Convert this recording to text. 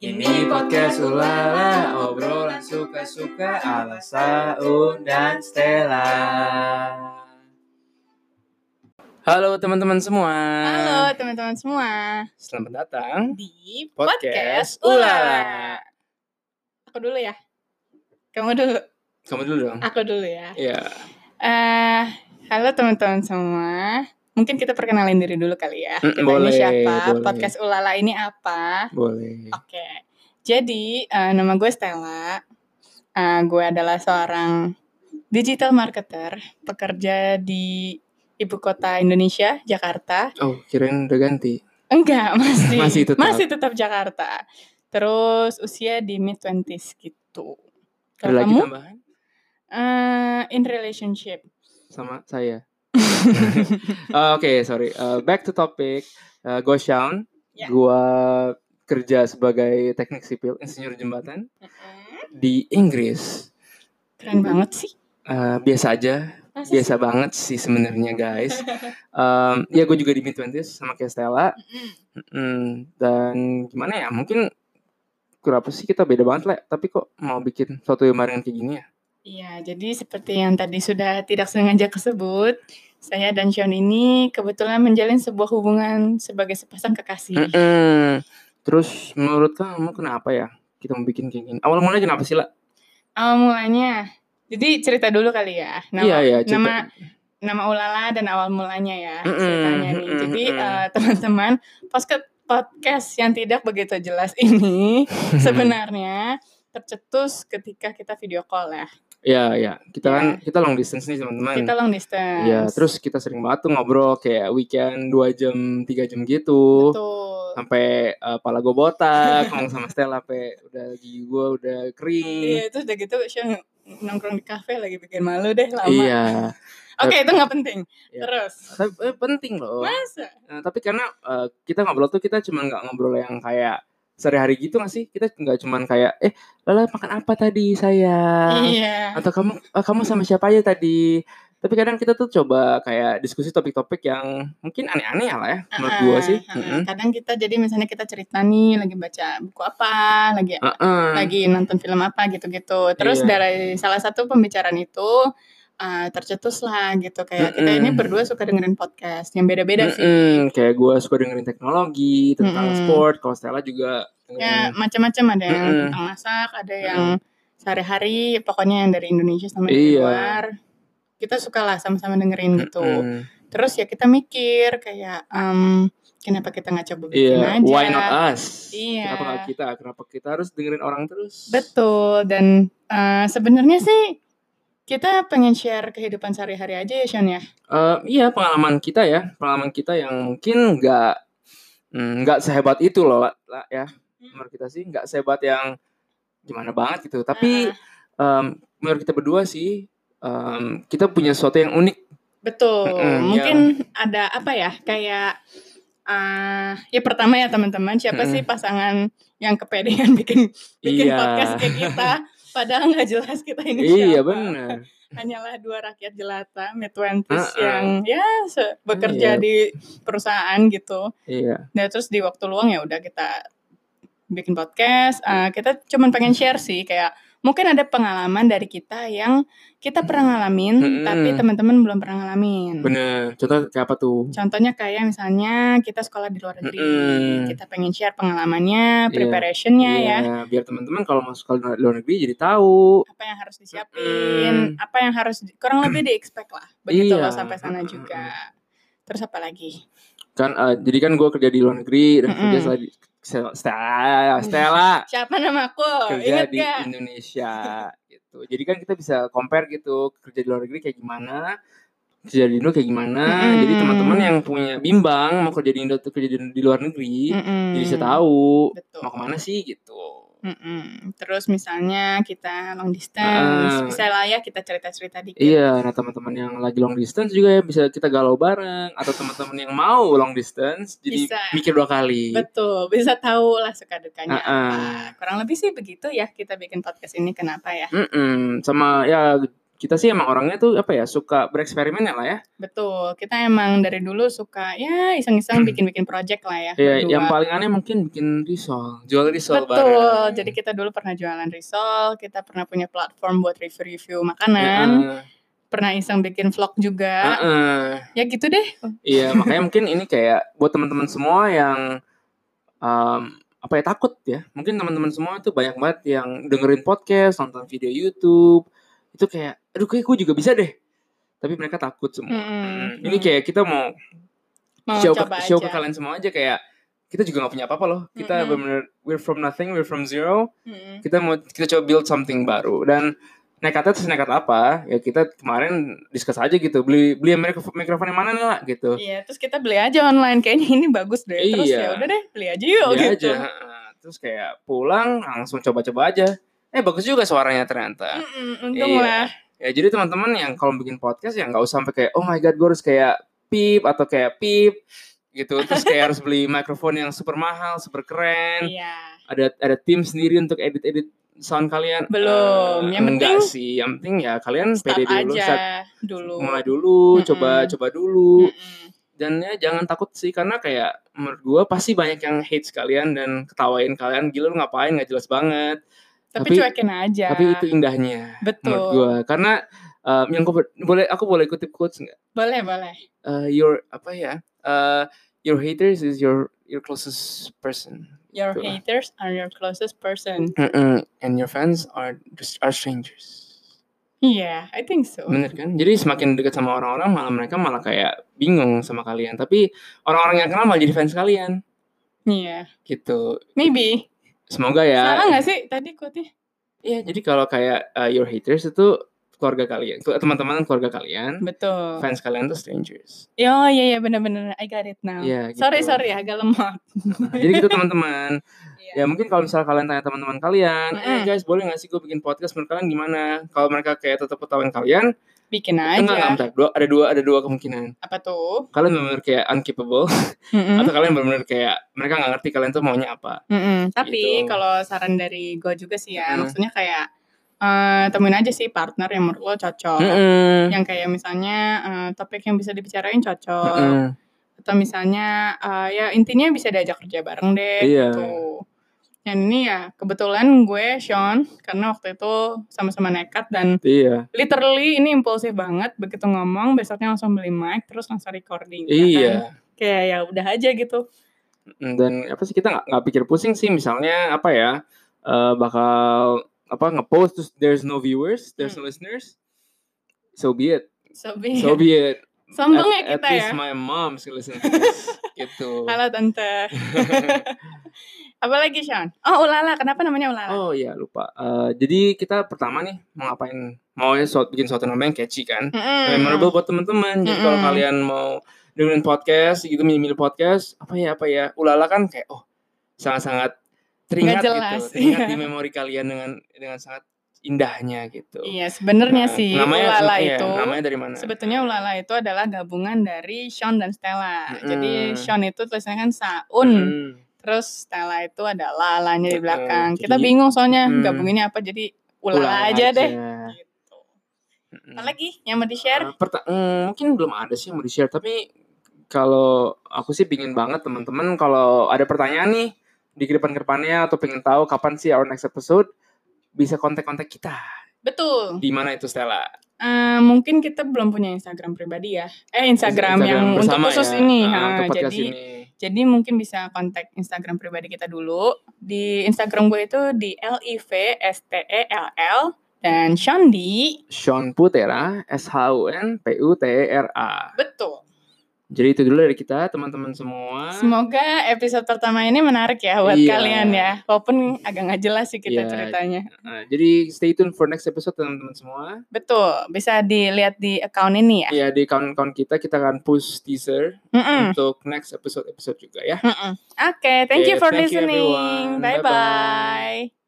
Ini podcast ulala obrolan suka-suka ala Saun dan Stella. Halo teman-teman semua. Halo teman-teman semua Selamat datang. di Podcast podcast, Ulala. Ulala. Aku dulu ya. Kamu dulu, Kamu dulu dong. aku dulu ya. Iya. Eh, halo teman-teman semua. Mungkin kita perkenalin diri dulu kali ya. Mm, Kita ini boleh, siapa? boleh. Podcast Ulala ini apa? Boleh. Oke. Jadi eh, nama gue Stella. Eh, gue adalah seorang digital marketer, pekerja di ibu kota Indonesia, Jakarta. Oh, kirain udah ganti. Enggak, masih. Masih tetap. Masih tetap Jakarta. Terus usia di mid 20s gitu. Ada Kalau lagi kamu tambahan eh, in relationship. sama saya. Eh, Oke, sorry. Eh, back to topic. Eh, Go Shaun. Ya. Gua kerja sebagai teknik sipil, insinyur jembatan Mm-mm. di Inggris. Iya. Keren banget sih. Eh, biasa aja, Masa biasa banget sih sebenarnya guys. Em, ya gue juga di mid 20s sama kayak Stella. Mm-mm. Mm, dan gimana ya? Mungkin kenapa sih kita beda banget lah. Tapi kok mau bikin suatu yang bareng kayak gini ya? Iya, jadi seperti yang tadi sudah tidak sengaja kesebut, saya dan Sean ini kebetulan menjalin sebuah hubungan sebagai sepasang kekasih. Mm-mm. Terus menurut kamu kenapa ya kita mau bikin kayak gini? Awal mulanya kenapa sih lah? Awal Oh, mulanya, jadi cerita dulu kali ya. Nama, Iya iya. cerita. nama nama Ulala dan awal mulanya ya Mm-mm, ceritanya nih. mm-mm, Jadi mm-mm. eh, teman-teman podcast podcast yang tidak begitu jelas ini sebenarnya tercetus ketika kita video call ya. Iya iya. Kita Iya. kan kita long distance nih teman-teman. Kita long distance. Iya. Terus kita sering banget tuh ngobrol kayak weekend 2 jam 3 jam gitu. betul. sampai eh, pala gue botak ngomong sama Stella sampai udah gigi gue udah kering Iya itu udah gitu Sean nongkrong di kafe lagi bikin malu deh lama. iya Oke itu nggak penting. Iya. Terus tapi eh, penting loh masa? Nah, tapi karena eh, kita ngobrol tuh kita cuma nggak ngobrol yang kayak sehari-hari gitu nggak sih kita nggak cuman kayak eh lala makan apa tadi sayang Iya. atau kamu eh, kamu sama siapa aja tadi tapi kadang kita tuh coba kayak diskusi topik-topik yang mungkin aneh-aneh ya lah ya menurut gue Ah, sih ah, Mm-mm. Kadang kita jadi misalnya kita cerita nih lagi baca buku apa, lagi Heeh. lagi nonton film apa gitu-gitu. Terus Iya. dari salah satu pembicaraan itu eh, tercetus lah gitu kayak kita ini Mm-mm. berdua suka dengerin podcast yang beda-beda sih. Mm-mm. kayak gue suka dengerin teknologi tentang Mm-mm. sport kalau Stella juga Ya dengerin macam-macam ada yang Mm-mm. tentang masak, ada yang sehari-hari, pokoknya yang dari Indonesia sama dari Iya. luar. Kita suka lah sama-sama dengerin gitu. Mm-mm. Terus ya kita mikir kayak em, kenapa kita nggak coba bikin Iya, aja? why not us? Iya. Kenapa nggak kita? Kenapa kita harus dengerin orang terus? Betul dan eh, sebenarnya sih kita pengen share kehidupan sehari-hari aja ya Sean ya. Eh, iya, pengalaman kita ya, pengalaman kita yang mungkin nggak mm, nggak sehebat itu loh, lah, lah, ya. Menurut kita sih nggak sehebat yang gimana banget gitu. Tapi Ah. em, menurut kita berdua sih, em, kita punya sesuatu yang unik. Betul. Mm-mm, iya. Mungkin ada apa ya? Kayak eh ya pertama ya teman-teman, siapa Mm-mm. sih pasangan yang kepedean bikin bikin Iya. podcast kayak kita padahal nggak jelas kita ini iya siapa. benar. Hanyalah dua rakyat jelata mid 20s Ah, ah. yang ya se- bekerja Iya. di perusahaan gitu. Iya. Dan terus di waktu luang ya udah kita bikin podcast. Eh, kita cuman pengen share sih kayak mungkin ada pengalaman dari kita yang kita pernah ngalamin Mm-mm. tapi teman-teman belum pernah ngalamin. Benar. Contoh kayak apa tuh? Contohnya kayak misalnya kita sekolah di luar negeri, Mm-mm. kita pengen share pengalamannya, Iya. preparationnya ya, Iya, biar teman-teman kalau masuk ke luar- luar negeri jadi tahu. apa yang harus disiapin, apa yang harus di- kurang lebih di expect lah, begitu Iya. loh sampai sana Mm-mm. juga. Terus apa lagi? kan eh, jadi kan gue kerja di luar negeri dan Mm-mm. kerja setelah di- se- Stella, Stella Siapa nama aku? kerja Oh, Ingat di gak? Indonesia gitu jadi kan kita bisa compare gitu kerja di luar negeri kayak gimana kerja di Indo kayak gimana Mm-mm. jadi teman-teman yang punya bimbang mau kerja di Indo atau kerja di, di luar negeri Mm-mm. jadi bisa tahu Betul. mau kemana sih gitu Mm-mm. Terus misalnya kita long distance, Ah. bisa lah ya kita cerita-cerita dikit. Iya, nah teman-teman yang lagi long distance juga ya bisa kita galau bareng atau teman-teman yang mau long distance jadi Bisa. mikir dua kali. Betul, bisa tahu lah suka dukanya iya. Ah, ah. apa. Kurang lebih sih begitu ya kita bikin podcast ini kenapa ya? Mm-mm, sama ya kita sih emang orangnya tuh apa ya suka bereksperimen ya lah ya. Betul. Kita emang dari dulu suka ya iseng-iseng bikin-bikin project lah ya. Iya, berdua. yang paling aneh mungkin bikin risol, jual risol Betul. bareng. Jadi kita dulu pernah jualan risol, kita pernah punya platform buat review-review makanan, Heeh. pernah iseng bikin vlog juga. Heeh. Ya gitu deh. Iya, makanya mungkin ini kayak buat teman-teman semua yang em, apa ya takut ya. Mungkin teman-teman semua tuh banyak banget yang dengerin podcast, nonton video YouTube. Itu kayak aduh kayak gue juga bisa deh. Tapi mereka takut semua. Mm-mm. Hmm, Ini kayak kita mau Mau show, ke, coba show aja. ke kalian semua aja kayak kita juga nggak punya apa-apa loh. Kita Mm-mm. bener-bener we're from nothing, we're from zero. Mm-mm. Kita mau kita coba build something baru dan nekatnya terus nekat apa? Ya kita kemarin diskus aja gitu. Beli beli mikrof- mikrofon yang mana nih lah gitu. Iya, terus kita beli aja online kayaknya ini bagus deh. Terus Iya. ya udah deh, beli aja yuk Beli gitu. Iya aja. heeh. Terus kayak pulang langsung coba-coba aja. Eh bagus juga suaranya ternyata. Mm-mm, untung Iya. lah. Ya jadi teman-teman yang kalau bikin podcast ya nggak usah sampai kayak oh my god gue harus kayak pip atau kayak pip gitu terus kayak harus beli mikrofon yang super mahal super keren Iya. ada ada tim sendiri untuk edit edit sound kalian Belum. Eh, Yang enggak penting sih yang penting ya kalian Start pede dulu aja start- dulu. mulai dulu Mm-mm. coba coba dulu Mm-mm. dan ya jangan takut sih karena kayak menurut gua pasti banyak yang hate kalian dan ketawain kalian gila lu ngapain nggak jelas banget Tapi, Tapi- cuekin aja. tapi itu indahnya menurut Ya. Betul. gua karena em, yang aku ber- boleh aku boleh kutip quotes nggak Boleh, boleh. Eh, your apa ya Eh, your haters is your your closest person Your Betul. haters are your closest person. Mm-mm. and your fans are are strangers Hmm. Iya, I think so. Bener kan? Jadi semakin dekat sama orang-orang malah mereka malah kayak bingung sama kalian. Tapi orang-orang yang kenal malah jadi fans kalian. Iya. Gitu. Maybe. Semoga Salah ya. nggak sih tadi quote-nya? Iya, jadi kalau kayak uh, your haters itu keluarga kalian, Kel- teman-teman keluarga kalian, Betul. fans kalian tuh strangers. Yo, iya, iya, bener-bener. I got it now. Iya, Oh. gitu. Sorry, sorry, agak lemot. Nah, jadi gitu teman-teman. Iya. Ya mungkin kalau misalnya kalian tanya teman-teman kalian, eh Mm-mm. guys boleh nggak sih gue bikin podcast menurut kalian gimana? Kalau mereka kayak tetap ketahuan kalian, Bikin enggak enggak Nah, aja. bentar. Dua, ada dua ada dua kemungkinan. Apa tuh? Kalian benar-benar kayak unkeepable Mm-hmm. Mm-mm. atau kalian benar-benar kayak mereka nggak ngerti kalian tuh maunya apa. Mm-mm. Tapi Gitu. kalau saran dari gue juga sih ya, Mm. maksudnya kayak eh, temuin aja sih partner yang menurut lo cocok. Mm-mm. Yang kayak misalnya eh, topik yang bisa dibicarain cocok. Mm-mm. Atau misalnya eh, ya intinya bisa diajak kerja bareng deh Iya. gitu. Yang ini ya kebetulan gue Sean karena waktu itu sama-sama nekat dan Iya. literally ini impulsif banget begitu ngomong besoknya langsung beli mic terus langsung recording. ya kan? Iya. Kayak ya udah aja gitu. Mm, Dan apa sih kita nggak nggak pikir pusing sih misalnya apa ya eh, bakal apa ngepost terus there's no viewers, there's Hmm. no listeners. So be it. So, So be it. sombong ya at, Iya. at kita ya. least my mom still listen to this. gitu. Halo tante. Apalagi Sean? Oh ulala, kenapa namanya ulala? Oh iya lupa. Eh, jadi kita pertama nih mau ngapain? Mau ya suat- bikin suatu nama yang catchy kan? Mm-mm. Memorable buat teman-teman. Jadi kalau Mm-mm. kalian mau dengerin podcast gitu milih-milih podcast, apa ya apa ya? Ulala kan kayak oh sangat-sangat teringat Nggak jelas, gitu. Teringat iya. di memori kalian dengan dengan sangat indahnya gitu. Iya, sebenarnya Nah, sih namanya, ulala iya, itu. namanya dari mana? Sebetulnya ulala itu adalah gabungan dari Sean dan Stella. Mm-mm. Jadi Sean itu tulisannya kan Saun, Hmm. terus Stella itu ada lalanya di Mm-mm. belakang. Jadi- Kita bingung soalnya Mm. gabunginnya apa, jadi ulala, aja, deh. Gitu. Mm-mm. Apalagi yang mau di-share? Eh, perta- mm, mungkin belum ada sih yang mau di-share, tapi kalau aku sih pingin banget teman-teman kalau ada pertanyaan nih di kedepan-kedepannya atau pengen tahu kapan sih our next episode bisa kontak-kontak kita. Betul. Di mana itu Stella? Eh, mungkin kita belum punya Instagram pribadi ya. Eh Instagram, yang untuk bersama khusus ya. ini. Ah, ha, untuk podcast jadi ini. jadi mungkin bisa kontak Instagram pribadi kita dulu. Di Instagram gue itu di livstell E dan Shondi. Sean Putera, S H U N P U T E R A. Betul. Jadi itu dulu dari kita teman-teman semua. Semoga episode pertama ini menarik ya buat Iya. kalian ya. Walaupun agak nggak jelas sih kita Iya. ceritanya. Nah, jadi stay tune for next episode teman-teman semua. Betul. Bisa dilihat di account ini ya. Hmm. Ya di kawan-kawan kita kita akan push teaser Mm-mm. untuk next episode episode juga ya. Mm-mm. Oke, thank Oke, you for Iya, thank you listening. everyone. Bye Bye-bye. bye.